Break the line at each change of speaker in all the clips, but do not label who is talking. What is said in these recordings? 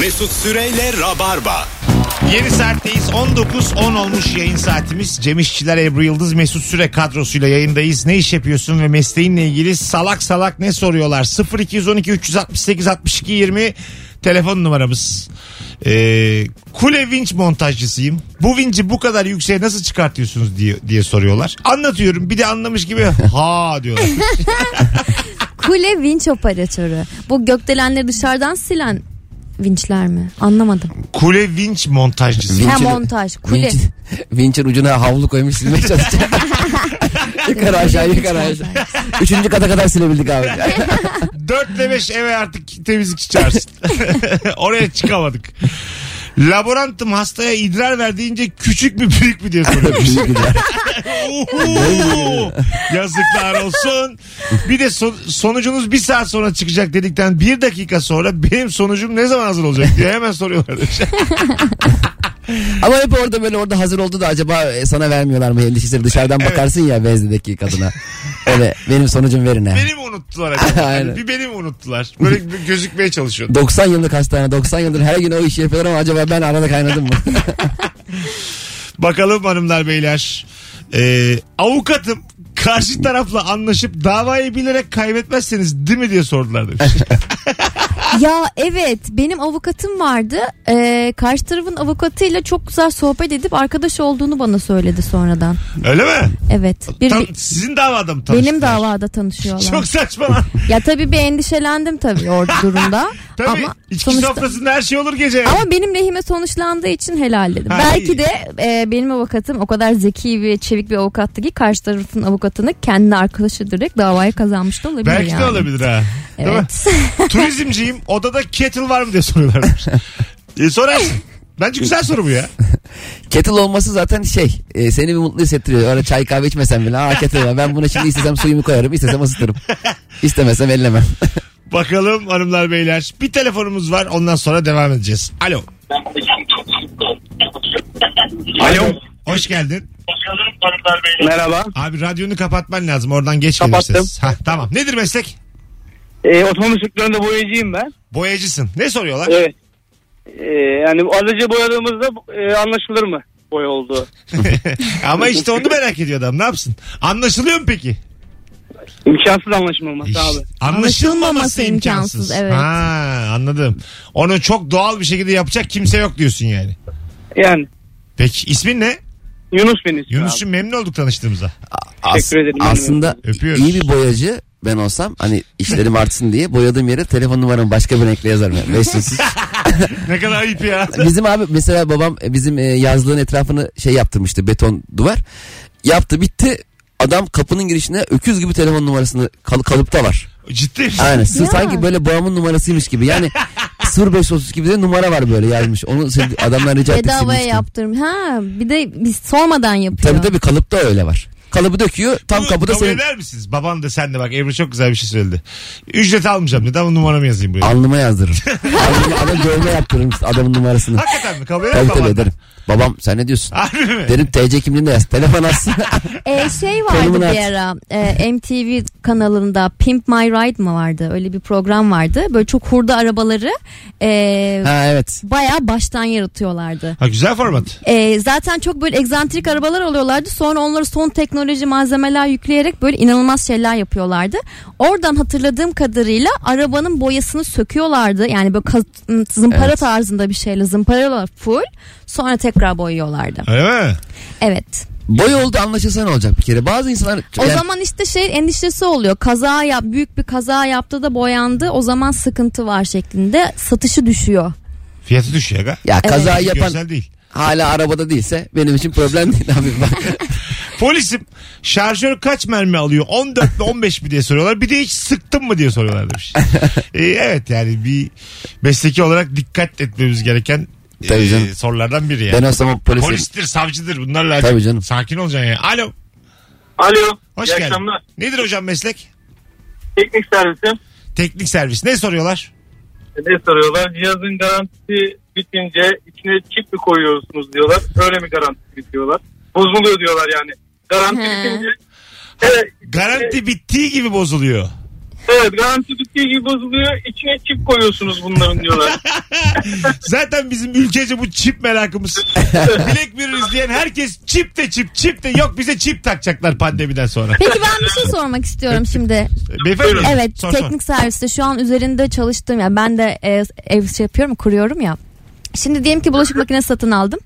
Mesut Süreyle Rabarba.
Yeni saatteyiz. 19.10 olmuş yayın saatimiz. Cem İşçiler, Ebru Yıldız, Mesut Süre kadrosuyla yayındayız. Ne iş yapıyorsun ve mesleğinle ilgili salak salak ne soruyorlar? 0212 368 62 20 telefon numaramız. Ee, kule vinç montajcısıyım. Bu vinci bu kadar yükseğe nasıl çıkartıyorsunuz diye, diye soruyorlar. Anlatıyorum. Bir de anlamış gibi ha diyorlar.
Kule vinç operatörü. Bu gökdelenleri dışarıdan silen vinçler mi? Anlamadım.
Kule vinç montajcısı.
Ha
Vinçin-
montaj, kule.
Vinçin, vinçin ucuna havlu koymuş silmeye çalışacak. yukarı aşağı yukarı aşağı. Üçüncü kata kadar silebildik abi.
4 ile 5 eve artık temizlikçi çağırsın. Oraya çıkamadık. Laborantım hastaya idrar verdiğince küçük mü büyük mü diye soruyor.
Büyük güzel.
Uhu! Yazıklar olsun. Bir de son- sonucunuz bir saat sonra çıkacak dedikten bir dakika sonra benim sonucum ne zaman hazır olacak diye hemen soruyorlar. demiş.
Ama hep orada böyle orada hazır oldu da acaba e, sana vermiyorlar mı endişesi dışarıdan bakarsın ya Vezne'deki kadına. Öyle benim sonucum verin ha.
beni mi unuttular acaba? Yani
Aynen.
bir beni mi unuttular? Böyle bir gözükmeye çalışıyor.
90 yıllık hastane 90 yıldır her gün o işi yapıyorlar ama acaba ben arada kaynadım mı?
Bakalım hanımlar beyler. Ee, avukatım karşı tarafla anlaşıp davayı bilerek kaybetmezseniz değil mi diye sordular demiş.
Ya evet benim avukatım vardı. Ee, karşı tarafın avukatıyla çok güzel sohbet edip arkadaş olduğunu bana söyledi sonradan.
Öyle mi?
Evet. Bir,
Tan- sizin davada mı tanıştılar?
benim davada tanışıyorlar.
Çok saçma lan.
Ya tabii bir endişelendim tabii orada durumda.
Tabii
ama
içki
sonuçta
sofrasında her şey olur gece.
ama benim lehime sonuçlandığı için helal dedim.
Ha, iyi.
Belki de e, benim avukatım o kadar zeki ve çevik bir avukattı ki karşı tarafın avukatını kendi arkadaş ederek davayı kazanmış da olabilir
Belki
yani.
de olabilir ha. Değil mi?
Evet.
Turizmciyim odada kettle var mı diye soruyorlar. demiş. e, sorarsın. Bence güzel soru bu ya.
Kettle olması zaten şey e, seni bir mutlu hissettiriyor. Öyle çay kahve içmesen bile ha kettle var. Ben buna şimdi istesem suyumu koyarım istesem ısıtırım. İstemesem ellemem.
Bakalım hanımlar beyler. Bir telefonumuz var ondan sonra devam edeceğiz. Alo.
Alo.
Hoş geldin.
Merhaba.
Abi radyonu kapatman lazım. Oradan geç gelir
Kapattım.
ses. Hah, tamam. Nedir meslek?
Ee, otomobil sektöründe boyacıyım ben.
Boyacısın. Ne soruyorlar?
Evet. Ee, yani aracı boyadığımızda e, anlaşılır mı boya olduğu?
Ama işte onu merak ediyor adam. Ne yapsın? Anlaşılıyor mu peki?
İmkansız anlaşılmaması abi.
Anlaşılmaması
Anlaşılmaması
imkansız.
imkansız, evet.
Ha, anladım. Onu çok doğal bir şekilde yapacak kimse yok diyorsun yani.
Yani
Peki ismin ne?
Yunus benim ismim abi.
Yunus'cum memnun olduk tanıştığımıza.
Teşekkür ederim.
Aslında
Öpüyoruz.
iyi bir boyacı ben olsam hani işlerim artsın diye boyadığım yere telefon numaramı başka bir renkle yazarım. Yani. Mesut.
Ne kadar ayıp ya.
bizim abi mesela babam e, bizim e, yazlığın etrafını şey yaptırmıştı beton duvar. Yaptı bitti adam kapının girişine öküz gibi telefon numarasını kal- kalıpta var.
Ciddi misin?
Aynen. Sı-
Ya.
Sanki böyle babamın numarasıymış gibi. Yani 0530 gibi de numara var böyle yazmış. Onu sil- adamlar rica ettik.
Bedavaya
silmiştim.
yaptırım. Ha bir de biz sormadan yapıyor.
Tabii tabii kalıpta öyle var. Kalıbı döküyor tam
Bunu
kapıda
kabul
senin
eder misiniz? Baban da sen de bak Ebru çok güzel bir şey söyledi. Ücret almayacağım dedi ama numaramı yazayım buraya.
alnıma yazdırırım. alnıma adam dövme yaptırırım adamın numarasını.
Hakikaten Ah. mi? Kabul eder
Tabii
mi
tabii
baban da?
ederim. Babam sen ne diyorsun?
Harbi mi?
Derim TC kimliğini de yaz. Telefon atsın.
Ee, şey vardı
Konumun
bir
artık.
ara e, MTV kanalında Pimp My Ride mı vardı? Öyle bir program vardı. Böyle çok hurda arabaları e,
ha evet.
bayağı baştan yaratıyorlardı.
Ha güzel format.
E, zaten çok böyle egzantrik arabalar alıyorlardı. Sonra onları son teknoloji malzemeler yükleyerek böyle inanılmaz şeyler yapıyorlardı. Oradan hatırladığım kadarıyla arabanın boyasını söküyorlardı. Yani böyle kaz- zımpara
Evet.
tarzında bir şeyle zımparalıyorlar full. Sonra tekrar boyuyorlardı.
Öyle mi?
Evet.
Boy oldu anlaşılsa ne olacak bir kere? Bazı insanlar
O
yani
zaman işte şey endişesi oluyor. Kaza yap büyük bir kaza yaptı da boyandı. O zaman sıkıntı var şeklinde satışı düşüyor.
Fiyatı düşüyor ga.
ya kaza
Yapan...
yapan
Görsel değil.
hala arabada değilse benim için problem değil abi bak.
Polisim şarjör kaç mermi alıyor? 14 mi 15 mi diye soruyorlar. Bir de hiç sıktın mı diye soruyorlar demiş. Ee, evet yani bir mesleki olarak dikkat etmemiz gereken
Tabii
e,
canım.
sorulardan biri yani.
ben o zaman polisim.
Polistir, savcıdır bunlarla.
Tabii canım.
Sakin olacaksın yani. Alo.
Alo.
Hoş
iyi
geldin.
akşamlar.
Nedir hocam meslek?
Teknik servisim.
Teknik servis. Ne soruyorlar?
Ne soruyorlar? Cihazın garantisi bitince içine çip mi koyuyorsunuz diyorlar. Öyle mi garantisi bitiyorlar? Bozuluyor diyorlar yani. Garanti
He.
bitince. Evet.
Garanti bittiği gibi bozuluyor.
Evet garanti bittiği gibi bozuluyor. İçine çip koyuyorsunuz bunların diyorlar.
Zaten bizim ülkece bu çip merakımız. Bilek veririz diyen herkes çip de çip çip de yok bize çip takacaklar pandemiden sonra.
Peki ben bir şey sormak istiyorum şimdi.
Beyefendi.
Evet
sor, sor.
teknik serviste şu an üzerinde çalıştığım ya ben de e, ev şey yapıyorum kuruyorum ya. Şimdi diyelim ki bulaşık makinesi satın aldım.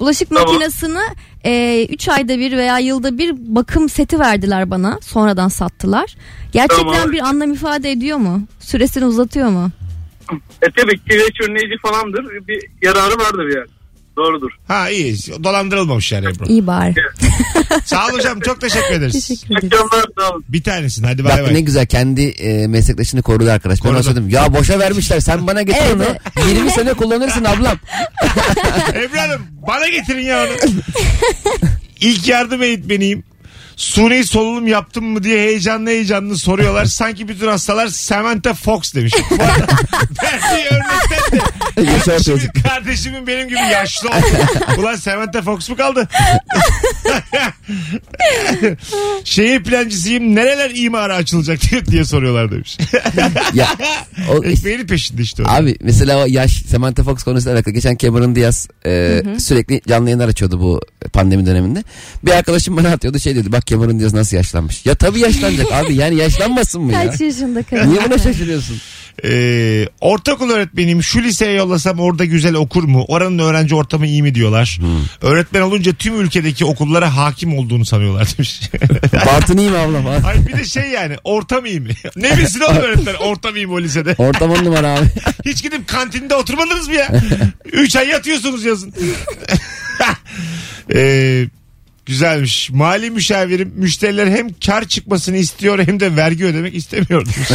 Bulaşık
Tamam.
makinesini 3 ayda bir veya yılda bir bakım seti verdiler bana. Sonradan sattılar. Gerçekten
Tamam.
bir anlam ifade ediyor mu? Süresini uzatıyor mu?
e tabii kireç önleyici falandır. Bir yararı vardır yani. Doğrudur.
Ha iyi dolandırılmamış yani Ebru.
İyi bari.
Sağ olun hocam çok teşekkür ederiz.
Teşekkür ederim.
Akşamlar sağ olun.
Bir tanesin hadi bay
Bak ne
bay.
güzel kendi e, meslektaşını korudu arkadaş. Ben ona
Korudu.
söyledim. Ya boşa vermişler sen bana getir
Evet,
onu. 20 sene kullanırsın ablam.
Ebru Hanım bana getirin ya onu. İlk yardım eğitmeniyim. Suni solunum yaptım mı diye heyecanlı heyecanlı soruyorlar. Sanki bütün hastalar Samantha Fox demiş. Bu arada verdiği örnekten de
Yaşa
Kardeşimin,
ortacık.
kardeşimin benim gibi yaşlı oldu. Ulan Samantha Fox mu kaldı? Şehir plancısıyım nereler imara açılacak diye, diye soruyorlar demiş.
Ya, o,
Ekmeğinin peşinde işte. o.
Abi mesela o yaş Samantha Fox konusuyla alakalı geçen Cameron Diaz e, sürekli canlı yayınlar açıyordu bu pandemi döneminde. Bir arkadaşım bana atıyordu şey dedi bak Cameron Diaz nasıl yaşlanmış. Ya tabii yaşlanacak abi yani yaşlanmasın mı ya?
Kaç yaşında kadın?
Niye buna şaşırıyorsun?
Ee, ortaokul öğretmeniyim şu liseye yollasam orada güzel okur mu? Oranın öğrenci ortamı iyi mi diyorlar. Öğretmen olunca tüm ülkedeki okullara hakim olduğunu sanıyorlar demiş.
Bartın iyi mi ablam? ha?
Ay bir de şey yani ortam iyi mi? ne bilsin oğlum öğretmen ortam iyi mi o lisede?
Ortam on numara abi.
Hiç gidip kantinde oturmadınız mı ya? Üç ay yatıyorsunuz yazın. Ee, güzelmiş. Mali müşavirim müşteriler hem kar çıkmasını istiyor hem de vergi ödemek istemiyor. demiş.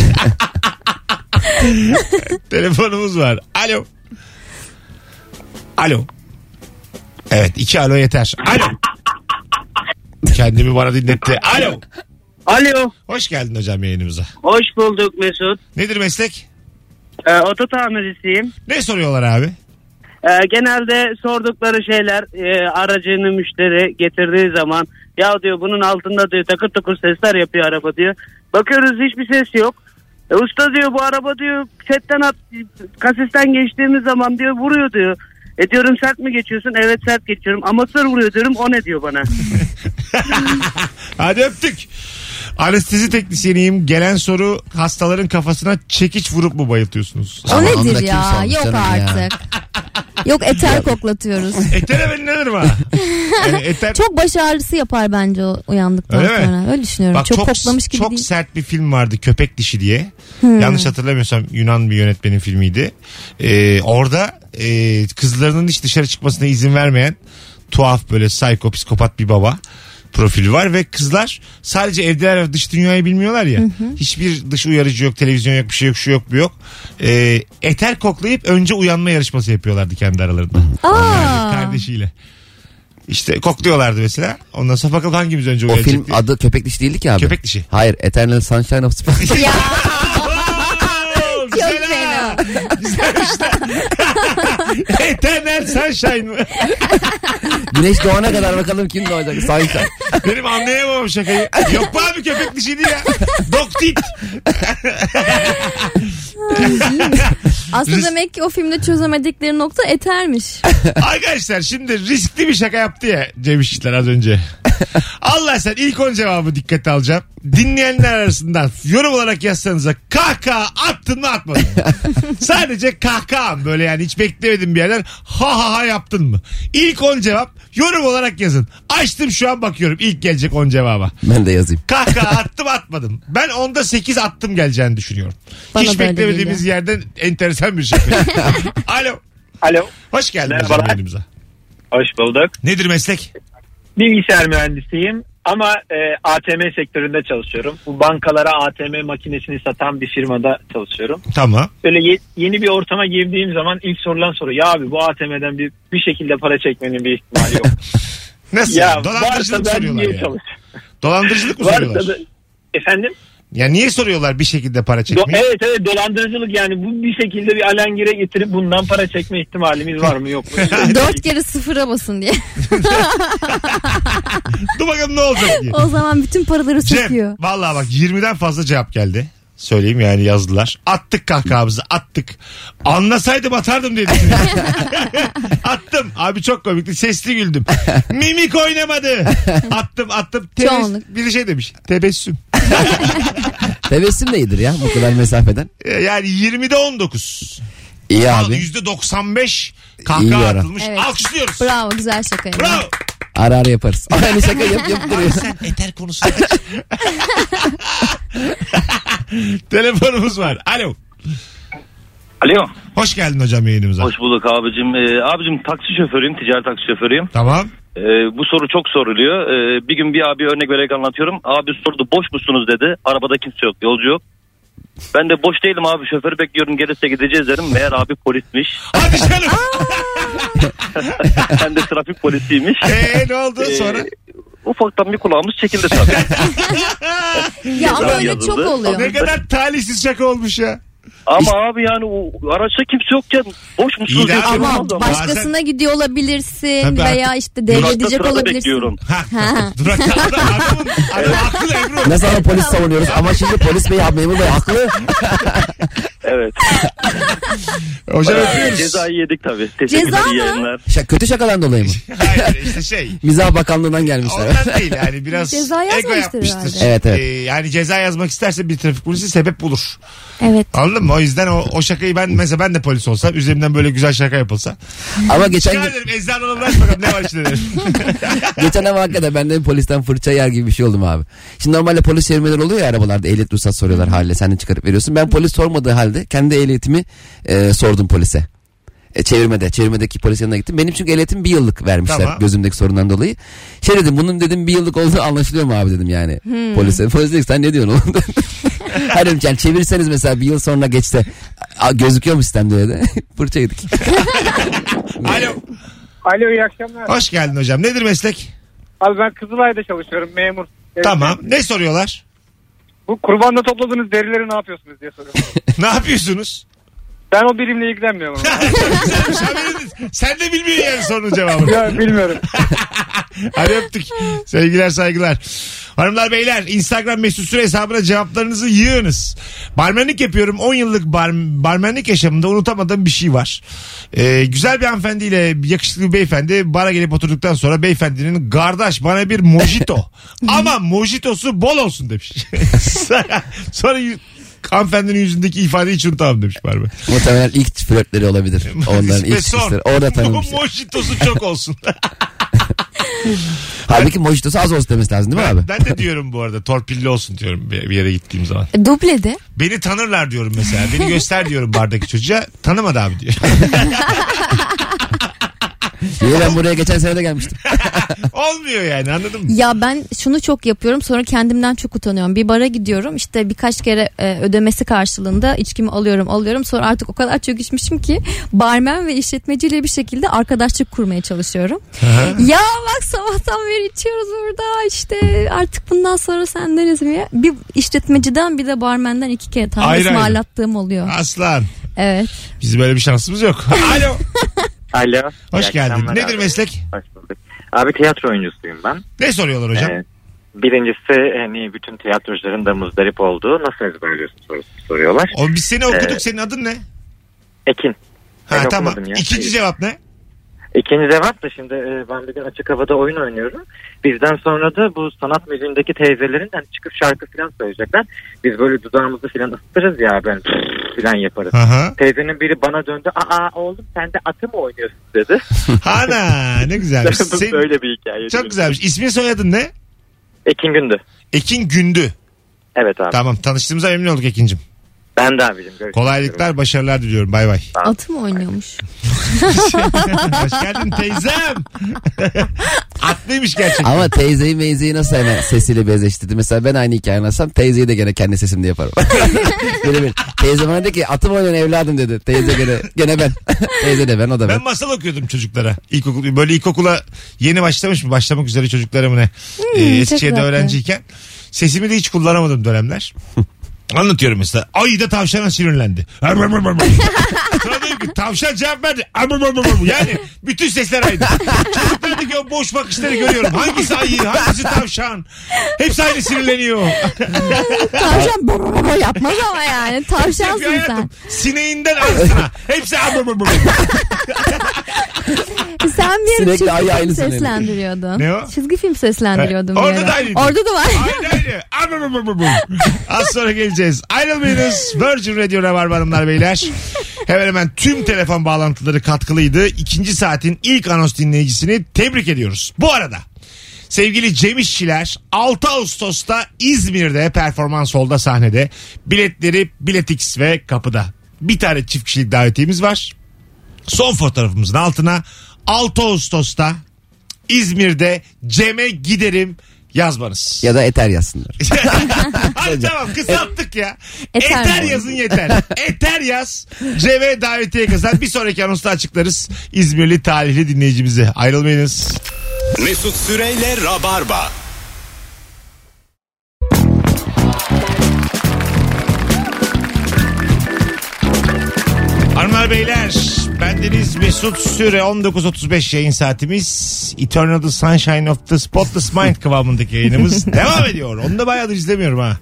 Telefonumuz var. Alo. Alo. Evet iki alo yeter. Alo. Kendimi bana dinletti. Alo.
Alo,
Hoş geldin hocam yayınımıza.
hoş bulduk Mesut.
Nedir meslek?
Ee, oto tamircisiyim.
Ne soruyorlar abi?
Ee, genelde sordukları şeyler e, aracını müşteri getirdiği zaman ya diyor bunun altında diyor takır takır sesler yapıyor araba diyor. Bakıyoruz hiçbir ses yok. E, usta diyor bu araba diyor setten at kasisten geçtiğimiz zaman diyor vuruyor diyor. E diyorum sert mi geçiyorsun? Evet sert geçiyorum. Amatör vuruyor diyorum. O ne diyor bana?
Hadi öptük. Anestezi teknisyeniyim. Gelen soru hastaların kafasına çekiç vurup mu bayıltıyorsunuz?
O
Ama onu da
nedir
kim
ya?
sormuş
Yok
canım ya?
artık. Yok eter koklatıyoruz.
Etere ben inanırım ha. Yani eter...
Çok baş ağrısı yapar bence o uyandıktan
Öyle mi?
sonra. Öyle düşünüyorum.
Bak
çok,
çok,
koklamış gibi
çok
değil. Hmm.
sert bir film vardı Köpek Dişi diye. Yanlış hatırlamıyorsam Yunan bir yönetmenin filmiydi. Ee, orada e, kızlarının hiç dışarı çıkmasına izin vermeyen tuhaf böyle psycho psikopat bir baba profili var ve kızlar sadece evdeler ve dış dünyayı bilmiyorlar ya. Hiçbir dış uyarıcı yok, televizyon yok, bir şey yok, şu yok, bu yok. Ee, eter koklayıp önce uyanma yarışması yapıyorlardı kendi aralarında
Aa.
kardeşiyle. İşte kokluyorlardı mesela. Ondan sonra bakalım hangimiz önce
O
uyanacak
film
diye.
adı Köpek Dişi değildi ki abi.
Köpek Dişi.
Hayır Eternal Sunshine of the Spotless.
Ya
Oo,
çok
güzel ha.
fena.
Eternal Sunshine mı?
Güneş doğana kadar bakalım kim doğacak Sunshine.
Benim anlayamam şakayı. Yok mu abi köpek dişiydi ya. Doktit.
Aslında
Risk-
demek ki o filmde çözemedikleri nokta etermiş.
Arkadaşlar şimdi riskli bir şaka yaptı ya Cem İşçiler az önce. Allah sen ilk 10 cevabı dikkate alacağım. Dinleyenler arasından yorum olarak yazsanıza kahkaha attın mı atmadın mı? Sadece kahkaham böyle yani hiç beklemedim bir yerden ha ha ha yaptın mı? İlk 10 cevap yorum olarak yazın. Açtım şu an bakıyorum ilk gelecek 10 cevaba.
Ben de yazayım.
Kahkaha attım atmadım. Ben onda 8 attım geleceğini düşünüyorum.
Bana
Hiç
böyle
beklemediğimiz yerden enteresan bir şaka. Alo.
Alo.
Hoş geldin hocam
Merhabalar.
yayınımıza.
Hoş bulduk.
Nedir meslek?
Bilgisayar mühendisiyim ama e, ATM sektöründe çalışıyorum. Bu bankalara ATM makinesini satan bir firmada çalışıyorum.
Tamam.
Böyle ye- yeni bir ortama girdiğim zaman ilk sorulan soru ya abi bu ATM'den bir bir şekilde para çekmenin bir ihtimali yok.
Nasıl?
ya varsa
Dolandırıcılık
ben
soruyorlar
niye
yani.
çalışıyorum?
Dolandırıcılık mı soruyorlar?
Varsa da efendim?
Ya niye soruyorlar bir şekilde para
Do-
çekmeyi?
evet evet dolandırıcılık yani bu bir şekilde bir alengire getirip bundan para çekme ihtimalimiz var mı yok mu?
Dört kere sıfıra basın diye.
Dur bakalım ne olacak diye.
o zaman bütün paraları
Cem
söküyor.
vallahi bak 20'den fazla cevap geldi. Söyleyeyim yani yazdılar. Attık kahkahamızı attık. Anlasaydım atardım diye düşünüyorum. attım. Abi çok komikti. Sesli güldüm. Mimik oynamadı. Attım attım. Tebess-
Çoğunluk.
Biri şey demiş. Tebessüm.
Tebessüm de iyidir ya bu kadar mesafeden.
Ee, Yani 20'de 19.
İyi
Al,
abi.
%95
İyi
kahkaha
ara.
atılmış.
Evet.
Alkışlıyoruz. Bravo.
Bravo güzel şaka.
Ara ara yaparız. Aynı şaka yap yap duruyor.
Sen eter konusu. Telefonumuz var. Alo.
Alo.
Hoş geldin hocam yayınımıza.
Hoş bulduk abicim. Ee, abicim taksi şoförüyüm. Ticari taksi şoförüyüm.
Tamam.
Ee, bu soru çok soruluyor. Ee, bir gün bir abi örnek vererek anlatıyorum. Abi sordu boş musunuz dedi. Arabada kimse yok. Yolcu yok. Ben de boş değilim abi şoförü bekliyorum gelirse gideceğiz dedim. Meğer abi polismiş.
Hadi canım.
Ben de trafik polisiymiş.
Eee ne oldu
Ee,
sonra?
ufaktan bir kulağımız çekildi tabii.
Ya ama
Yazılı.
öyle çok oluyor.
ne kadar talihsiz şaka olmuş ya.
Ama abi yani o, araçta kimse yokken boş
İyi
musunuz
de
diye
abi,
sorulmaz
Ama
ama.
başkasına gidiyor olabilirsin
Tabii
veya
artık-
işte
Durakta
devredecek
sırada
olabilirsin.
bekliyorum.
Ha. Durakta adam, adamın, adam haklı Ebru.
Nasıl ama polis savunuyoruz ama şimdi polis bey memur bey haklı.
Evet.
Hocam
Ee,
öpüyoruz.
Cezayı yedik tabii. Teşekkürler
Ceza mı?
iyi yayınlar.
Şa- kötü şakadan dolayı mı?
Hayır işte şey.
Mizah bakanlığından gelmişler.
Ondan değil yani biraz
Ceza
ego
yazmamıştır
yapmıştır.
herhalde.
Evet, evet.
Ee, yani ceza yazmak isterse bir trafik polisi sebep bulur.
Evet.
Anladın mı? O yüzden o, o şakayı ben mesela ben de polis olsam üzerimden böyle güzel şaka yapılsa.
ama geçen
Çıkar
gün-
derim eczan olalım aç bakalım ne var içinde derim.
Geçen ama hakikaten ben de polisten fırça yer gibi bir şey oldum abi. Şimdi normalde polis çevirmeleri oluyor ya arabalarda ehliyet ruhsat soruyorlar haliyle sen de çıkarıp veriyorsun. Ben polis sormadığı halde kendi ehliyetimi e, sordum polise. E, çevirmede, çevirmedeki polis yanına gittim. Benim çünkü ehliyetim bir yıllık vermişler
Tamam.
gözümdeki sorundan dolayı. Şey dedim bunun dedim bir yıllık olduğu anlaşılıyor mu abi dedim yani polise. Polis dedi ki, sen ne diyorsun oğlum dedi. Hayır dedim, yani çevirseniz mesela bir yıl sonra geçse a, gözüküyor mu sistemde öyle de. Fırça yedik.
Alo.
Alo iyi akşamlar.
Hoş geldin hocam. Nedir meslek?
Abi ben Kızılay'da çalışıyorum memur. Evet,
Tamam.
memur.
Ne soruyorlar?
Bu kurbanda topladığınız derileri ne yapıyorsunuz diye soruyorum.
Ne yapıyorsunuz?
ben o birimle ilgilenmiyorum. ama.
Güzelmiş haberiniz. Sen de bilmiyorsun yani sorunun cevabını.
ya bilmiyorum.
Hadi öptük. Sevgiler saygılar. Hanımlar beyler Instagram mesut süre hesabına cevaplarınızı yığınız. Barmenlik yapıyorum. 10 yıllık bar, barmenlik yaşamında unutamadığım bir şey var. Ee, güzel bir hanımefendiyle yakışıklı bir beyefendi bara gelip oturduktan sonra beyefendinin kardeş bana bir mojito ama mojitosu bol olsun demiş. sonra y- hanımefendinin yüzündeki ifadeyi hiç unutamam demiş barmen.
Muhtemelen ilk flörtleri olabilir. Onların
Ve
ilk
son,
çıkışları. Orada tanımışlar.
Mojitosu çok olsun.
Halbuki mojitosu az olsun demesi lazım değil mi abi?
Ben, ben de diyorum bu arada torpilli olsun diyorum bir bir yere gittiğim zaman.
E, Dublede.
Beni tanırlar diyorum mesela. Beni göster diyorum bardaki çocuğa. Tanımadı abi diyor.
Niye ben buraya geçen sene de gelmiştim.
Olmuyor yani anladın mı?
Ya ben şunu çok yapıyorum sonra kendimden çok utanıyorum. Bir bara gidiyorum işte birkaç kere e, ödemesi karşılığında içkimi alıyorum alıyorum. Sonra artık o kadar çok içmişim ki barmen ve işletmeciyle bir şekilde arkadaşlık kurmaya çalışıyorum. ya bak sabahtan beri içiyoruz burada işte artık bundan sonra sendeniz mi? ya? Bir işletmeciden bir de barmenden iki kere
Ayrı
tane
ayrı.
ısmarlattığım oluyor.
Aslan.
Evet.
Bizim böyle bir şansımız yok. Alo.
Alo.
Hoş
İyi
geldin.
akşamlar
Nedir
abi.
meslek?
Hoş bulduk. Abi tiyatro oyuncusuyum ben.
Ne soruyorlar hocam?
Ee, birincisi hani bütün tiyatrocuların da muzdarip olduğu nasıl ezberliyorsun sorusunu soruyorlar.
O, biz seni okuduk.
Evet.
Senin adın ne?
Ekin.
Ha
e, Ben
tamam.
okumadım ya.
İkinci cevap ne?
İkinci cevap da şimdi e, ben bir gün açık havada oyun oynuyorum. Bizden sonra da bu sanat müziğindeki teyzelerin hani çıkıp şarkı falan söyleyecekler. Biz böyle dudağımızı falan ısıtırız ya ben falan yaparız.
Aha.
Teyzenin biri bana döndü. Aa oğlum sen de atı mı oynuyorsun dedi.
Ana ne güzelmiş. Senin-
Böyle bir hikaye.
Çok güzelmiş. İsmin soyadın ne?
Ekin Gündü.
Ekin Gündü.
Evet abi.
Tamam tanıştığımıza memnun olduk Ekin'cim.
Ben de abicim. Görüşmek üzere.
Kolaylıklar başarılar diliyorum. Bay bay.
Atı mı oynuyormuş?
Hoş geldin teyzem. Atlıymış gerçekten.
Ama teyzeyi meyzeyi nasıl hemen sesiyle benzeştirdi. Mesela ben aynı hikayeyi anlatsam teyzeyi de gene kendi sesimle yaparım. Böyle bir teyze bana dedi ki atım oynayan evladım dedi. Teyze gene, gene ben. teyze de ben o da ben.
Ben masal okuyordum çocuklara. İlkokul, böyle ilkokula yeni başlamış mı? Başlamak üzere çocuklara mı ne? Ee, Eskişehir'de
tatlı.
öğrenciyken. Sesimi de hiç kullanamadım dönemler. Anlatıyorum mesela. Ayı da tavşana sinirlendi. Am, am, am, am. Sonra diyor ki tavşan cevap verdi. Am, am, am, am. Yani bütün sesler aynı. Çocuklar Arkadaki o boş bakışları görüyorum. Hangisi ayı, hangisi tavşan? Hepsi aynı sinirleniyor.
Tavşan baba baba yapmaz ama yani.
Hep
Tavşansın sen.
hayatım. Sineğinden aynısına. Hepsi abur bur bur.
Sen bir
Sinekle
çizgi
ayı
film
aynı sinekli.
seslendiriyordun.
Ne o?
Çizgi film seslendiriyordun
Ha,
bir
orada
ara.
da aynıydı.
Orada da var.
Aynı aynı. Abur bur bur bur bur. Az sonra geleceğiz. Ayrılmayınız. Virgin Radio Rabarba Hanımlar Beyler. Hemen hemen tüm telefon bağlantıları katkılıydı. İkinci saatin ilk anons dinleyicisini tebrik ediyoruz. Bu arada Sevgili Cem İşçiler 6 Ağustos'ta İzmir'de performans olda sahnede. Biletleri Biletix ve kapıda. Bir tane çift kişilik davetiyemiz var. Son fotoğrafımızın altına 6 Ağustos'ta İzmir'de Cem'e giderim yazmanız.
Ya da eter yazsınlar.
Hadi tamam kısalttık ya. Eter,
Eter mi?
yazın yeter. Eter yaz. CV davetiye kazan. Bir sonraki anonsta açıklarız İzmirli talihli dinleyicimizi. Ayrılmayınız.
Mesut Süreyle Rabarba.
Hanımlar beyler bendeniz Mesut Süre 19.35 yayın saatimiz Eternal the Sunshine of the Spotless Mind kıvamındaki yayınımız devam ediyor. Onu da bayağıdır izlemiyorum ha.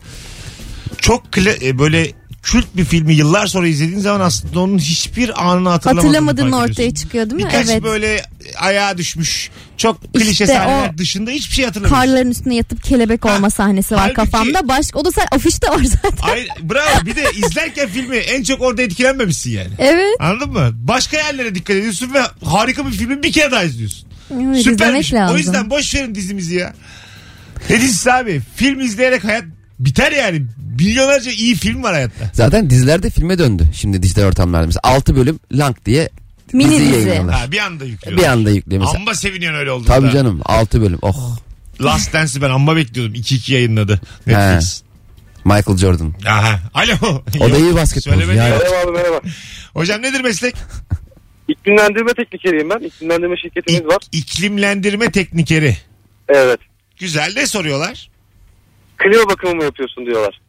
Çok kla- e, böyle kült bir filmi yıllar sonra izlediğin zaman aslında onun hiçbir anını hatırlamadığını
Hatırlamadığın
fark
ortaya
ediyorsun.
çıkıyor değil mi?
Birkaç
evet.
böyle ayağa düşmüş çok klişe
İşte
sahneler
o
dışında hiçbir şey hatırlamıyorsun.
Karların üstüne yatıp kelebek olma sahnesi var
halbuki-
kafamda. Başka o da sen afişte var zaten.
Ay, bravo bir de izlerken filmi en çok orada etkilenmemişsin yani.
Evet.
Anladın mı? Başka yerlere dikkat ediyorsun ve harika bir filmi bir kere daha izliyorsun.
evet
Süpermiş.
izlemek lazım.
O yüzden boş verin dizimizi ya. Ne dizisi abi? Film izleyerek hayat biter yani. Milyonlarca iyi film var hayatta.
Zaten diziler de filme döndü. Şimdi dijital ortamlarda mesela 6 bölüm lank diye
Mini
dizi
dizi.
yayınlanır.
Ha, bir anda yüklüyorsun.
Bir anda yüklemiş.
Amma seviniyorsun öyle olduğunda.
Tabii canım 6 bölüm. Oh
Last Dance'i ben amma bekliyordum. 2-2 yayınladı. Netflix.
Michael Jordan.
Aha. Alo.
O da
Yok,
iyi basketbolcu.
söylemedi
Ya.
ya.
Merhaba abi merhaba.
Hocam nedir meslek?
İklimlendirme teknikeriyim ben. İklimlendirme şirketimiz var.
İk- iklimlendirme teknikeri.
Evet.
Güzel ne soruyorlar?
Clio bakımı mı yapıyorsun diyorlar.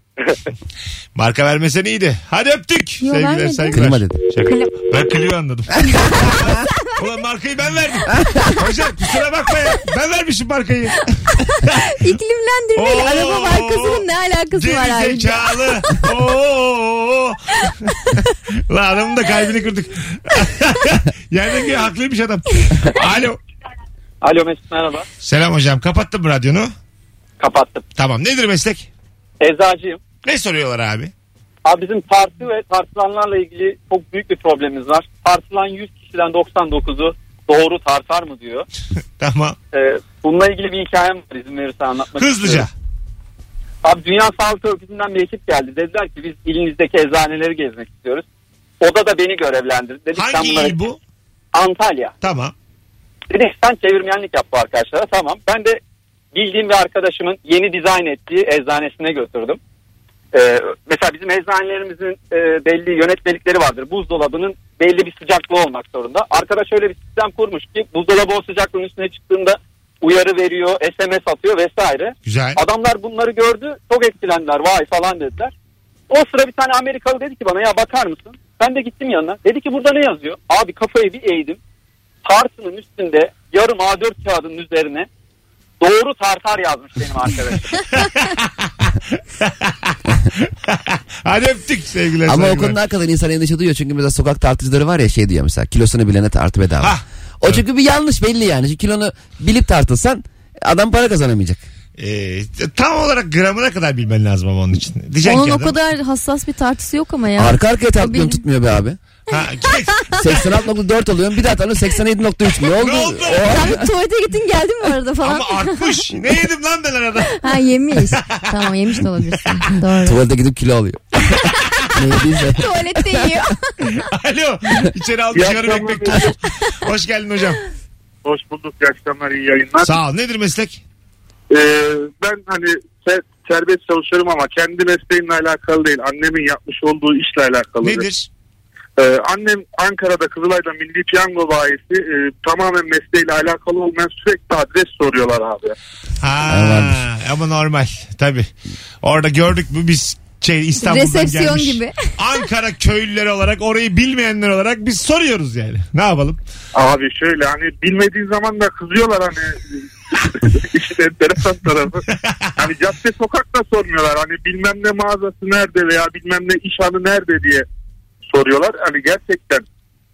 Marka vermesen iyiydi. Hadi öptük.
Yo,
Sevgiler
vermedim.
saygılar.
Klima dedi.
Şaka. Ben Clio anladım. Ulan markayı ben verdim. Hocam kusura bakma ya. Ben vermişim markayı.
İklimlendirme
Oo.
ile araba markasının ne alakası var
Geri
abi?
zekalı. Oo. Lan adamın da kalbini kırdık. Yerdeki haklıymış adam. Alo.
Alo Mesut merhaba.
Selam hocam. Kapattın mı radyonu?
Kapattım.
Tamam. Nedir meslek?
Eczacıyım.
Ne soruyorlar abi?
Abi bizim tartı ve tartılanlarla ilgili çok büyük bir problemimiz var. Tartılan 100 kişiden 99'u doğru tartar mı diyor.
Tamam.
Ee, bununla ilgili bir hikayem var izin verirsen anlatmak
Hızlıca.
istiyorum. Abi Dünya Sağlık Örgütü'nden bir ekip geldi. Dediler ki biz ilinizdeki eczaneleri gezmek istiyoruz. Oda da beni görevlendirdi. Dedik sen
Hangi
bunları-
il bu?
Antalya.
Tamam.
Dedik sen çevirmenlik yap bu arkadaşlara. Tamam. Ben de bildiğim bir arkadaşımın yeni dizayn ettiği eczanesine götürdüm. Ee, mesela bizim eczanelerimizin e, belli yönetmelikleri vardır. Buzdolabının belli bir sıcaklığı olmak zorunda. Arkadaş öyle bir sistem kurmuş ki buzdolabı o sıcaklığın üstüne çıktığında uyarı veriyor, SMS atıyor vesaire.
Güzel.
Adamlar bunları gördü. Çok etkilendiler. Vay falan dediler. O sıra bir tane Amerikalı dedi ki bana ya bakar mısın? Ben de gittim yanına. Dedi ki burada ne yazıyor? Abi kafayı bir eğdim. Tartının üstünde yarım A4 kağıdının üzerine doğru tartar yazmış benim arkadaşım.
Hadi öptük sevgiler.
Ama o
saygılar.
konuda hakikaten insan endişe duyuyor. Çünkü mesela sokak tartıcıları var ya şey diyor mesela kilosunu bilene tartı bedava.
Hah.
O çünkü bir yanlış belli yani. Çünkü kilonu bilip tartılsan adam para kazanamayacak.
Ee, tam olarak gramına kadar bilmen lazım ama onun için. Diyeceksin
Onun
ki
o
adam,
kadar hassas bir tartısı yok ama ya.
Arka arkaya
benim.
tartıyorum tutmuyor be abi.
Ha,
86.4 alıyorum bir daha tartıyorum 87.3 ne oldu?
Ne oldu?
O-
Sen bir tuvalete gittin geldin mi arada falan?
ama artmış. Ne yedim lan ben arada?
Ha yemiş. tamam yemiş de olabilirsin. Doğru.
Tuvalete gidip kilo alıyor. ne yediyse.
Tuvalette yiyor.
Alo. İçeri aldım
İyi
çıkarım
akşamlar.
ekmek tuzlu. Hoş geldin hocam.
Hoş bulduk. İyi akşamlar, iyi yayınlar.
Sağ ol. Nedir meslek?
Ee, ben hani se- serbest çalışıyorum ama kendi mesleğimle alakalı değil. Annemin yapmış olduğu işle alakalı.
Nedir?
Ee, annem Ankara'da Kızılay'da Milli Piyango bayisi e, tamamen mesleğiyle alakalı olmayan sürekli adres soruyorlar abi.
Ha,
Hayvandır.
ama normal. Tabii. Orada gördük mü biz şey İstanbul'dan
Resepsiyon
gelmiş.
gibi.
Ankara köylüleri olarak orayı bilmeyenler olarak biz soruyoruz yani. Ne yapalım?
Abi şöyle hani bilmediğin zaman da kızıyorlar hani işte enteresan tarafı. Hani cadde sokak da sormuyorlar. Hani bilmem ne mağazası nerede veya bilmem ne iş hanı nerede diye soruyorlar. Hani gerçekten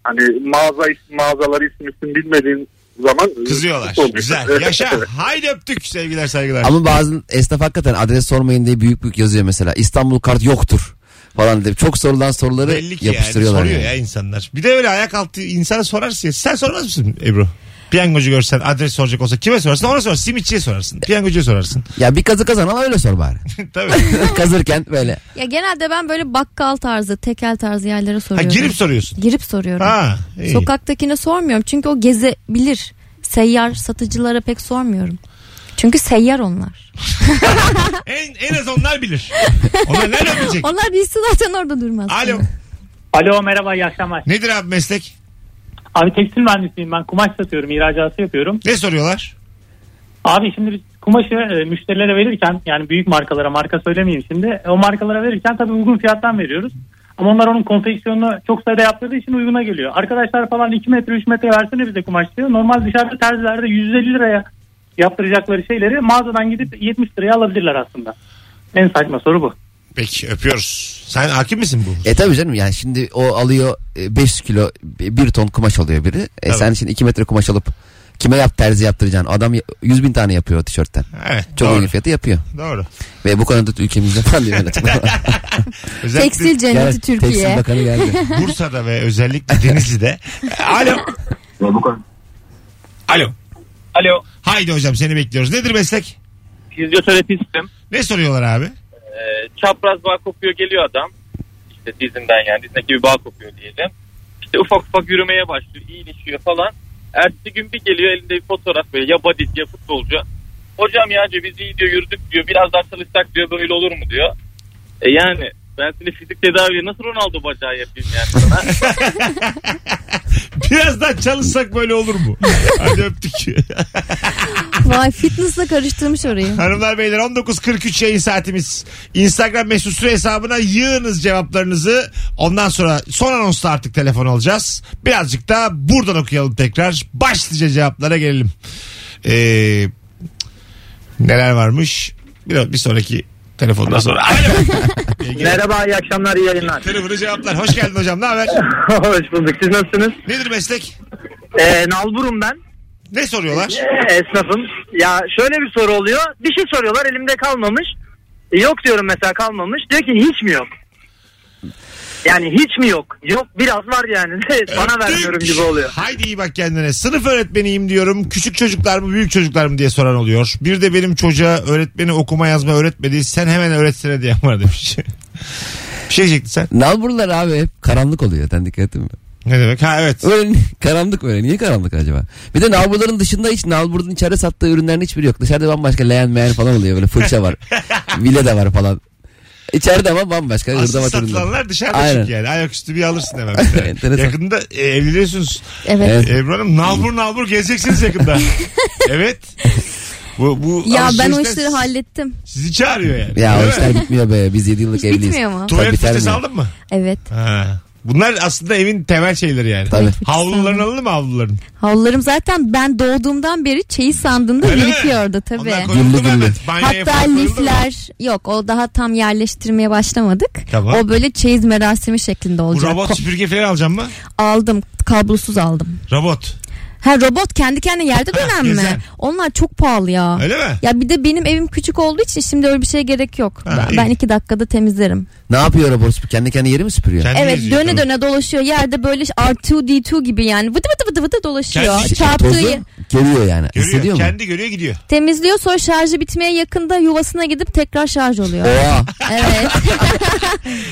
hani mağaza ismi, mağazaları ismi isim bilmediğin zaman
Kızıyorlar.
Sormuyor.
Güzel.
Evet,
Yaşa.
evet.
Haydi öptük sevgiler saygılar.
Ama bazı esnaf hakikaten adres sormayın diye büyük büyük yazıyor mesela. İstanbul kart yoktur falan diye. Çok sorulan soruları
Belli ki yani
yapıştırıyorlar.
soruyor
yani.
ya insanlar. Bir de öyle ayak altı insana sorarsın. ya. Sen sormaz mısın Ebru? Piyangocu görsen adres soracak olsa kime sorarsın? Ona sorarsın. Simitçiye sorarsın. Piyangocuya sorarsın.
Ya bir kazı kazan ama öyle sor bari.
Tabii.
Kazırken böyle.
Ya genelde ben böyle bakkal tarzı, tekel tarzı yerlere
Ha,
soruyorum.
girip soruyorsun.
Girip soruyorum.
Ha, iyi.
Sokaktakine sormuyorum çünkü o gezebilir. Seyyar satıcılara pek sormuyorum. Çünkü seyyar onlar.
En, en az onlar bilir. Onlar nereden bilecek?
Onlar bilsin zaten orada durmaz.
Alo.
Alo merhaba iyi akşamlar.
Nedir abi meslek?
Abi tekstil mühendisiyim ben kumaş satıyorum ihracatı yapıyorum.
Ne soruyorlar?
Abi şimdi biz kumaşı e, müşterilere verirken yani büyük markalara marka söylemeyeyim şimdi. O markalara verirken tabii uygun fiyattan veriyoruz. Ama onlar onun konfeksiyonunu çok sayıda yaptırdığı için uyguna geliyor. Arkadaşlar falan 2 metre 3 metre versene bize kumaş diyor. Normal dışarıda terzilerde 150 liraya yaptıracakları şeyleri mağazadan gidip 70 liraya alabilirler aslında. En saçma soru bu.
Peki öpüyoruz. Sen hakim misin bu?
E tabii canım yani şimdi o alıyor 5 kilo 1 ton kumaş alıyor biri. E
Tabii.
sen şimdi 2 metre kumaş alıp kime yap terzi yaptıracaksın? Adam 100 bin tane yapıyor o tişörtten.
Evet.
Çok
doğru.
uygun fiyatı yapıyor.
Doğru.
Ve bu konuda ülkemizde falan diyor. öyle.
Özellikle
Tekstil cenneti
Gel, Tekstil
Türkiye.
Bakanı geldi.
Bursa'da ve özellikle Denizli'de. Alo. Alo.
Alo.
Haydi hocam seni bekliyoruz. Nedir meslek?
Fizyoterapistim.
Ne soruyorlar abi?
Ee, çapraz bağ kopuyor geliyor adam. İşte dizimden yani dizindeki bir bağ kopuyor diyelim. İşte ufak ufak yürümeye başlıyor, iyileşiyor falan. Ertesi gün bir geliyor elinde bir fotoğraf böyle ya badiz ya futbolcu. Hocam ya diyor biz iyi diyor yürüdük diyor biraz daha çalışsak diyor böyle olur mu diyor. E yani ben seni fizik tedaviye nasıl Ronaldo bacağı yapayım yani sana.
Biraz daha çalışsak böyle olur mu? Hadi öptük.
Vay fitnessle karıştırmış orayı.
Hanımlar beyler 19.43 yayın saatimiz. Instagram mesut süre hesabına yığınız cevaplarınızı. Ondan sonra son anonsla artık telefon alacağız. Birazcık da buradan okuyalım tekrar. Başlıca cevaplara gelelim. Ee, neler varmış? Bir, bir sonraki telefondan sonra. Alo.
Merhaba iyi akşamlar iyi yayınlar.
Kırıvırı cevaplar. Hoş geldin hocam. Ne haber?
Hoş bulduk siz nasılsınız?
Nedir meslek?
Ee, Nalbur'um ben.
Ne soruyorlar?
Ee, esnafım. Ya şöyle bir soru oluyor. Bir şey soruyorlar elimde kalmamış. E, Yok diyorum mesela kalmamış. Diyor ki hiç mi yok? Yani hiç mi yok? Yok biraz var yani. Bana vermiyorum gibi oluyor.
Haydi iyi bak kendine. Sınıf öğretmeniyim diyorum. Küçük çocuklar mı büyük çocuklar mı diye soran oluyor. Bir de benim çocuğa öğretmeni okuma yazma öğretmedi. Sen hemen öğretsene diyen var demiş. bir şey diyecektin sen.
Nalburlar abi hep karanlık oluyor. Sen dikkat ettin mi?
Ne demek? Ha evet.
Öyle karanlık böyle. Niye karanlık acaba? Bir de nalburların dışında hiç nalburun içeride sattığı ürünlerin hiçbiri yok. Dışarıda bambaşka leğen meğen falan oluyor. Böyle fırça var. Vile de var falan. İçeride ama bambaşka.
Asıl
hırdavat ürünler.
satılanlar dışarıda
Aynen.
çünkü yani. Ayaküstü bir alırsın hemen. bir tane.
Enteresan.
Yakında e, evleniyorsunuz.
Evet.
Evet.
Ebru Hanım nalbur nalbur gezeceksiniz yakında. evet. Bu, bu
Ya ben o
alışverişten
işleri hallettim.
Sizi çağırıyor yani.
Ya o
Değil mi?
işler bitmiyor be. Biz 7 yıllık
Hiç
evliyiz.
bitmiyor mu?
Tabii
Tuvalet fırçası
biter mi?
aldın mı?
Evet.
Ha. Bunlar aslında evin temel şeyleri yani.
Tabii.
Havluların alındı mı havluların?
Havlularım zaten ben doğduğumdan beri çeyiz sandığında
Öyle mi?
birikiyordu tabii.
Onlar koyuldu mu
Güllü güllü.
hemen? Banyoya
Hatta
falan koyuldu mu?
lifler yok o daha tam yerleştirmeye başlamadık.
Tamam.
O böyle çeyiz merasimi şeklinde
Bu
olacak.
robot
Ko-
süpürge falan alacağım mı?
aldım kablosuz aldım.
Robot.
Ha robot kendi kendine yerde
Ha,
dönen
güzel.
mi? Onlar çok pahalı ya.
Öyle mi?
Ya bir de benim evim küçük olduğu için şimdi öyle bir şeye gerek yok.
Ha,
Ben-
iyi.
ben iki dakikada temizlerim.
Ne yapıyor robot? süpür- Kendi kendi yeri mi süpürüyor?
Kendi
Evet
geziyor
döne
tabii.
döne dolaşıyor. Yerde böyle R2D2 gibi yani vıdı vıdı vıdı vıdı dolaşıyor.
Kendi-
Çarptığı
Tozu görüyor yani.
Görüyor.
Hissediyor mu?
Kendi görüyor gidiyor.
temizliyor sonra şarjı bitmeye yakında yuvasına gidip tekrar şarj oluyor.
Oha.
evet.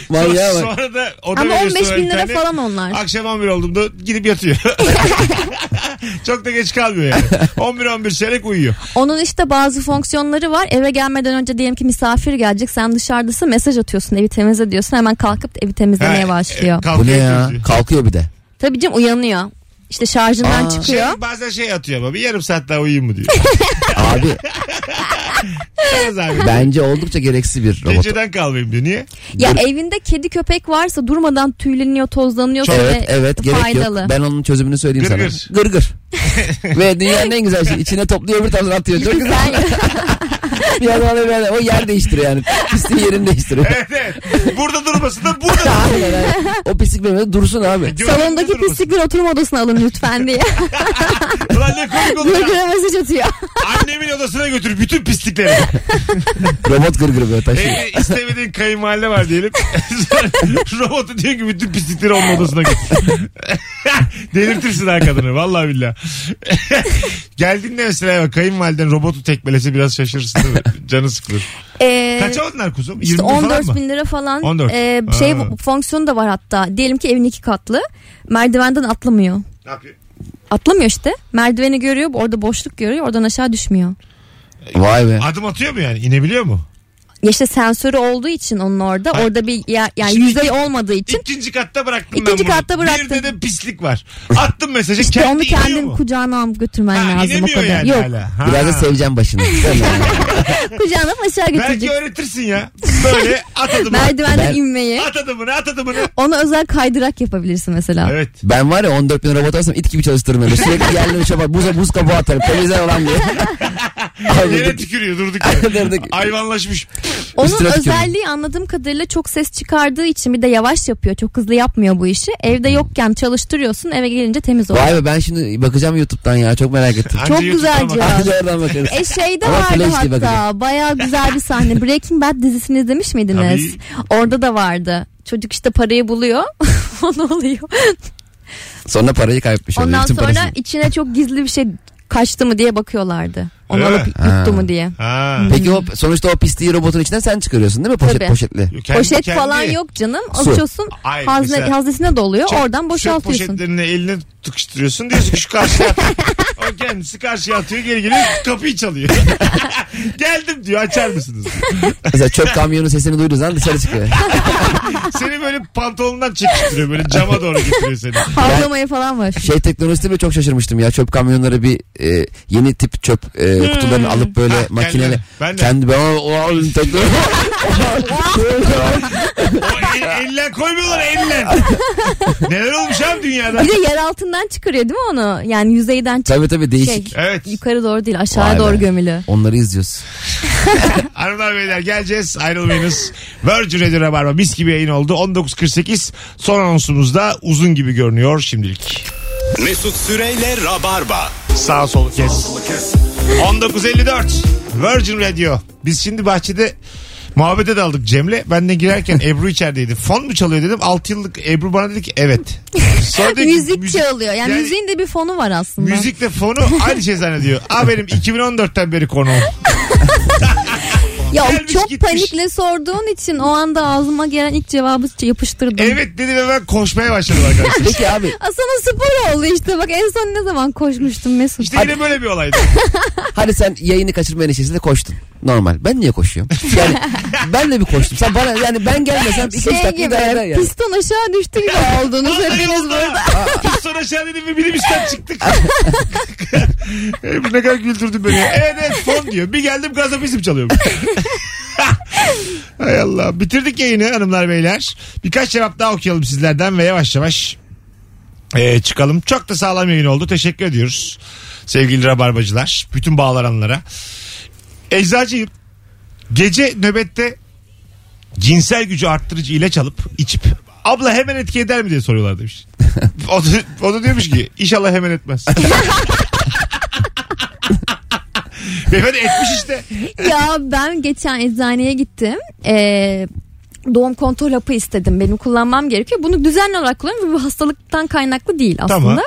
Vay ya bak.
Sonra da o da
Ama
veriyorsun
15 bin
bir
lira
tane.
falan onlar.
Akşam 11 olduğumda gidip yatıyor. Çok da geç kalmıyor yani. 11-11 çeyrek uyuyor.
Onun işte bazı fonksiyonları var. Eve gelmeden önce diyelim ki misafir gelecek. Sen dışarıdasın mesaj atıyorsun evi temizle diyorsun. Hemen kalkıp evi temizlemeye
Ha, e,
başlıyor.
Bu ne
kalkıyor
ya?
çocuğu.
Kalkıyor bir de.
Tabii canım uyanıyor. İşte şarjından
Aa.
çıkıyor.
Şey, bazen şey atıyor ama bir yarım saat daha uyuyayım mı diyor.
Abi
Yaz abi.
Bence oldukça gereksiz bir robot.
Geceden kalmayayım diyor. Niye?
şey,
Ya evinde kedi köpek varsa durmadan tüyleniyor, tozlanıyorsa
Evet evet gerek
faydalı.
yok. Ben onun çözümünü söyleyeyim
Gır
sana. Gırgır. Ve dünyanın en güzel şeyi. içine topluyor öbür tarafına atıyor. Çok güzel.
Güzel.
bir yandan ona bir yandan- o yer değiştiriyor yani. Pisliğin yerini değiştiriyor.
Evet evet. Burada durmasın da burada durmasın.
Aynen, aynen. O pislik benim önümde dursun abi.
Gördüğünde
Salondaki
durmasın.
pislikleri oturma odasına alın lütfen diye.
Ulan ne komik olur ya.
Gırgıra mesaj atıyor.
Annemin odasına götür bütün pislikleri.
Robot gırgır böyle taşıyor.
Evde istemediğin kayınvalide var diyelim. Sonra Robotu diyor ki bütün pislikleri onun odasına götür. Delirtirsin ha kadını vallahi billahi. Geldiğinde mesela eve kayınvaliden robotu tekmelese biraz şaşırırsın değil mi? Canı sıkılır.
Ee,
Kaça onlar kuzum? 20
İşte
bin falan
14
mı?
bin lira falan
14.
e, şey
Aa.
bu- fonksiyonu da var hatta. Diyelim ki evin iki katlı. Merdivenden atlamıyor.
Ne yapıyor?
Atlamıyor işte. Merdiveni görüyor. Orada boşluk görüyor. Oradan aşağı düşmüyor.
Vay be.
Adım atıyor mu yani? İnebiliyor mu?
Ya işte sensörü olduğu için onun orada.
Hayır.
Orada bir ya- yani
Şimdi-
yüzey olmadığı için.
İkinci katta bıraktım ben
İkinci
bunu.
katta bıraktın.
Bir de pislik var. Attım mesajı.
İşte
kendi
onu
iniyor
kendin
mu?
kucağına alıp götürmen
Ha,
lazım o
inemiyor
kadar.
yani
Yok
hala. Ha.
Biraz da seveceğim başını.
kucağına alıp aşağı
Belki
götürecek.
öğretirsin ya. Böyle at adımını.
Merdivenden
Ben-
inmeyi.
At adımını at adımını.
Ona özel kaydırak yapabilirsin mesela.
Evet.
ben var ya 14 bin robot alsam it gibi çalıştırırım. öyle. Sürekli yerlere uçar bak buza buz kabuğu atarım. Temizler olan diye.
Yere
Abi,
tükürüyor durduk yere.
Durduk.
Hayvanlaşmış.
Onun
Üstüne tükürüyor.
özelliği anladığım kadarıyla çok ses çıkardığı için bir de yavaş yapıyor. Çok hızlı yapmıyor bu işi. Evde yokken çalıştırıyorsun eve gelince temiz oluyor.
Vay be ben şimdi bakacağım YouTube'dan ya çok merak ettim.
Anca
Çok
YouTube'dan
güzel
bak-
cevap.
Hadi oradan bakarız.
E şeyde
Ama
vardı
Flash diye
hatta
bakacağım.
bayağı güzel bir sahne. Breaking Bad dizisini izlemiş miydiniz? Orada da vardı. Çocuk işte parayı buluyor. o ne oluyor?
Sonra parayı kaybetmiş oluyor.
Ondan
Bütün
sonra
parasını.
içine çok gizli bir şey kaçtı mı diye bakıyorlardı. Onu
Öyle
alıp
mi?
yuttu mu diye.
Ha.
Peki o sonuçta o pisliği robotun içinden sen çıkarıyorsun değil mi? Poşet
Tabii.
poşetli.
Kendi-
Poşet
kendi-
falan yok canım.
Su.
Açıyorsun
Hayır,
hazne,
mesela-
haznesine doluyor.
Çöp-
Oradan
Çöp
boşaltıyorsun.
poşetlerini eline tıkıştırıyorsun. Diyorsun ki şu karşıya at. O kendisi karşıya atıyor geri geliyor kapıyı çalıyor. Geldim diyor açar mısınız?
Mesela çöp kamyonun sesini duyduğu zaman dışarı çıkıyor.
Seni böyle pantolonundan çekiştiriyor böyle cama doğru getiriyor seni.
Havlamaya falan var.
Şey teknolojisi bile çok şaşırmıştım ya. Çöp kamyonları bir e, yeni tip çöp e,
Hmm.
kutularını alıp böyle
Ha,
makineyle.
kendileri. Ben de.
Kendi ben o, o, o- teknoloji-
O el, eller koymuyorlar eller. Neler olmuş abi dünyada?
Bir de yer altından çıkarıyor değil mi onu? Yani yüzeyden çık
Tabii tabii değişik.
şey.
Evet.
Yukarı doğru değil aşağı
Vay be.
doğru gömülü.
Onları izliyoruz.
Hanımlar beyler geleceğiz ayrılmayınız. Virgin Radio Rabarba mis gibi yayın oldu. 19.48 son anonsumuzda uzun gibi görünüyor şimdilik.
Mesut Süreyle Rabarba.
Sağ sol kes. 19.54 Virgin Radio. Biz şimdi bahçede muhabbete daldık Cem'le. Ben de girerken Ebru içerideydi. Fon mu çalıyor dedim. 6 yıllık Ebru bana dedi ki evet. Sonra dedi ki,
müzik, çalıyor. Yani,
yani
müziğin de bir fonu var aslında.
Müzikle fonu aynı şey zannediyor. Aa benim 2014'ten beri konuğum.
ya
gelmiş,
çok
gitmiş.
panikle sorduğun için o anda ağzıma gelen ilk cevabı yapıştırdım.
Evet dedi ve ben koşmaya başladım arkadaşlar.
Peki abi
Aa, Sana spor oldu işte bak en son ne zaman koşmuştum Mesut.
İşte yine böyle bir olaydı.
hadi sen yayını kaçırma endişesiyle koştun. Normal. Ben niye koşuyorum? Yani ben de bir koştum. Sen bana yani ben gelmesem 2-3
şey
dakika dayanar
gibi
yani.
piston aşağı düştü gibi oldunuz hepiniz burada.
Biz sonra aşağı dedim ve minibüsten çıktık. Ebru ne kadar güldürdün beni. Evet evet fon diyor. Bir geldim gazap isim çalıyorum. Hay Allah. Bitirdik yayını hanımlar beyler. Birkaç cevap daha okuyalım sizlerden ve yavaş yavaş e, çıkalım. Çok da sağlam yayın oldu. Teşekkür ediyoruz. Sevgili rabarbacılar. Bütün bağlananlara. Eczacıyım. Gece nöbette cinsel gücü arttırıcı ilaç alıp içip abla hemen etki eder mi diye soruyorlar demiş. O da, o da diyormuş ki inşallah hemen etmez. Beyefendi etmiş işte.
ya ben geçen eczaneye gittim. Ee, doğum kontrol hapı istedim. Benim kullanmam gerekiyor. Bunu düzenli olarak kullanıyorum. ve Bu hastalıktan kaynaklı değil aslında.
Tamam.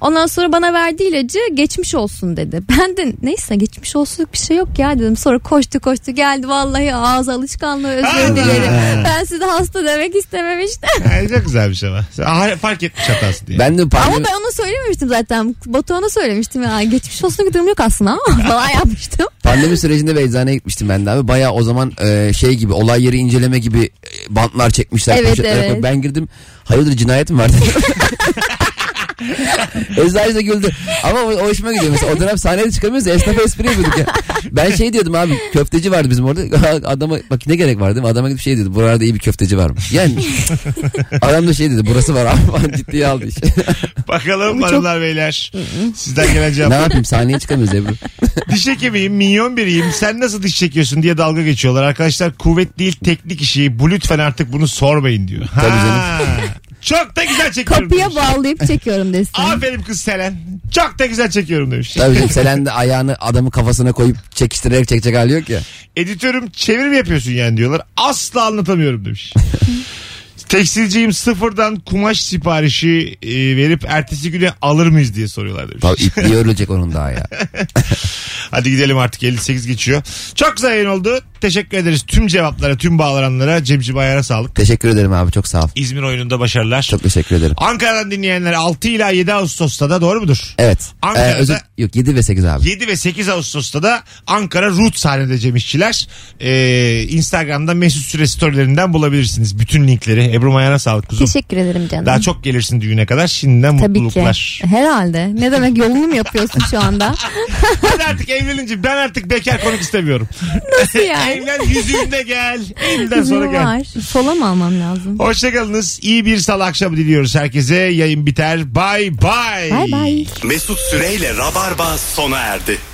Ondan sonra bana verdiği ilacı geçmiş olsun dedi. Ben de neyse geçmiş olsun bir şey yok ya dedim. Sonra koştu koştu geldi vallahi ağız alışkanlığı özür
Ana.
dilerim. Ben sizi hasta demek istememiştim.
Yani çok güzelmiş ama. Sen- Fark etmiş hatası diye.
Ben de
Ama
pandemi...
ben onu söylememiştim zaten. Batuhan'a söylemiştim ya. Geçmiş olsun bir durum yok aslında ama falan yapmıştım.
Pandemi sürecinde bir eczaneye gitmiştim ben de abi. Baya o zaman e, şey gibi olay yeri inceleme gibi e, bantlar çekmişler.
Evet,
poşetler
evet.
koyup- Ben girdim. Hayırdır cinayet mi vardı? Eczacı da güldü. Ama o, o hoşuma gidiyor. Mesela o dönem sahneye de çıkamıyoruz ya esnafa espri yapıyorduk ya. Ben şey diyordum abi köfteci vardı bizim orada. Adama bak ne gerek var değil mi? Adama gidip şey dedi. Buralarda iyi bir köfteci var mı? Yani adam da şey dedi. Burası var abi falan ciddiye aldı iş.
Bakalım hanımlar beyler. Sizden gelen
ne
cevap.
yapayım sahneye çıkamıyoruz Ebru.
diş hekimiyim, minyon biriyim. Sen nasıl diş çekiyorsun diye dalga geçiyorlar. Arkadaşlar kuvvet değil teknik işi. Bu lütfen artık bunu sormayın diyor.
Tabii
Ha. Çok da güzel çekiyorum.
Kapıya
demiş.
bağlayıp çekiyorum desin.
Aferin kız Selen. Çok da güzel çekiyorum demiş.
Tabii canım Selen de ayağını adamın kafasına koyup çekiştirerek çekecek hali yok ya.
Editörüm çevir mi yapıyorsun yani diyorlar. Asla anlatamıyorum demiş. Tekstilciyim sıfırdan kumaş siparişi e, verip ertesi güne alır mıyız diye soruyorlar demiş.
Tabii ipliği örülecek onun daha ya.
Hadi gidelim artık 58 geçiyor. Çok güzel yayın oldu. Teşekkür ederiz tüm cevaplara, tüm bağlananlara. Cemciğim ayağına sağlık.
Teşekkür ederim abi çok sağ ol.
İzmir oyununda başarılar.
Çok teşekkür ederim.
Ankara'dan dinleyenler 6 ila 7 Ağustos'ta da doğru mudur?
Evet.
Ankara'da-
Ee, özür- yok 7 ve 8 abi.
7 ve 8 Ağustos'ta da Ankara Root sahnede Cem İşçiler. Ee, Instagram'da Mesut Süre storylerinden bulabilirsiniz bütün linkleri. Ebru Mayan'a sağlık kuzum.
Teşekkür ederim canım.
Daha çok gelirsin düğüne kadar. Şimdiden
Tabii ki.
mutluluklar.
Herhalde. Ne demek yolunu mu yapıyorsun şu anda?
Hadi artık evlenince ben artık bekar konuk istemiyorum.
Nasıl yani?
Evlen yüzüğünde gel. Elinden sonra
İznim
gel.
var. Sola mı almam lazım?
Hoşçakalınız. İyi bir salı akşamı diliyoruz herkese. Yayın biter. Bye bye.
Bay bay.
Mesut Süreyle Rabarba sona erdi.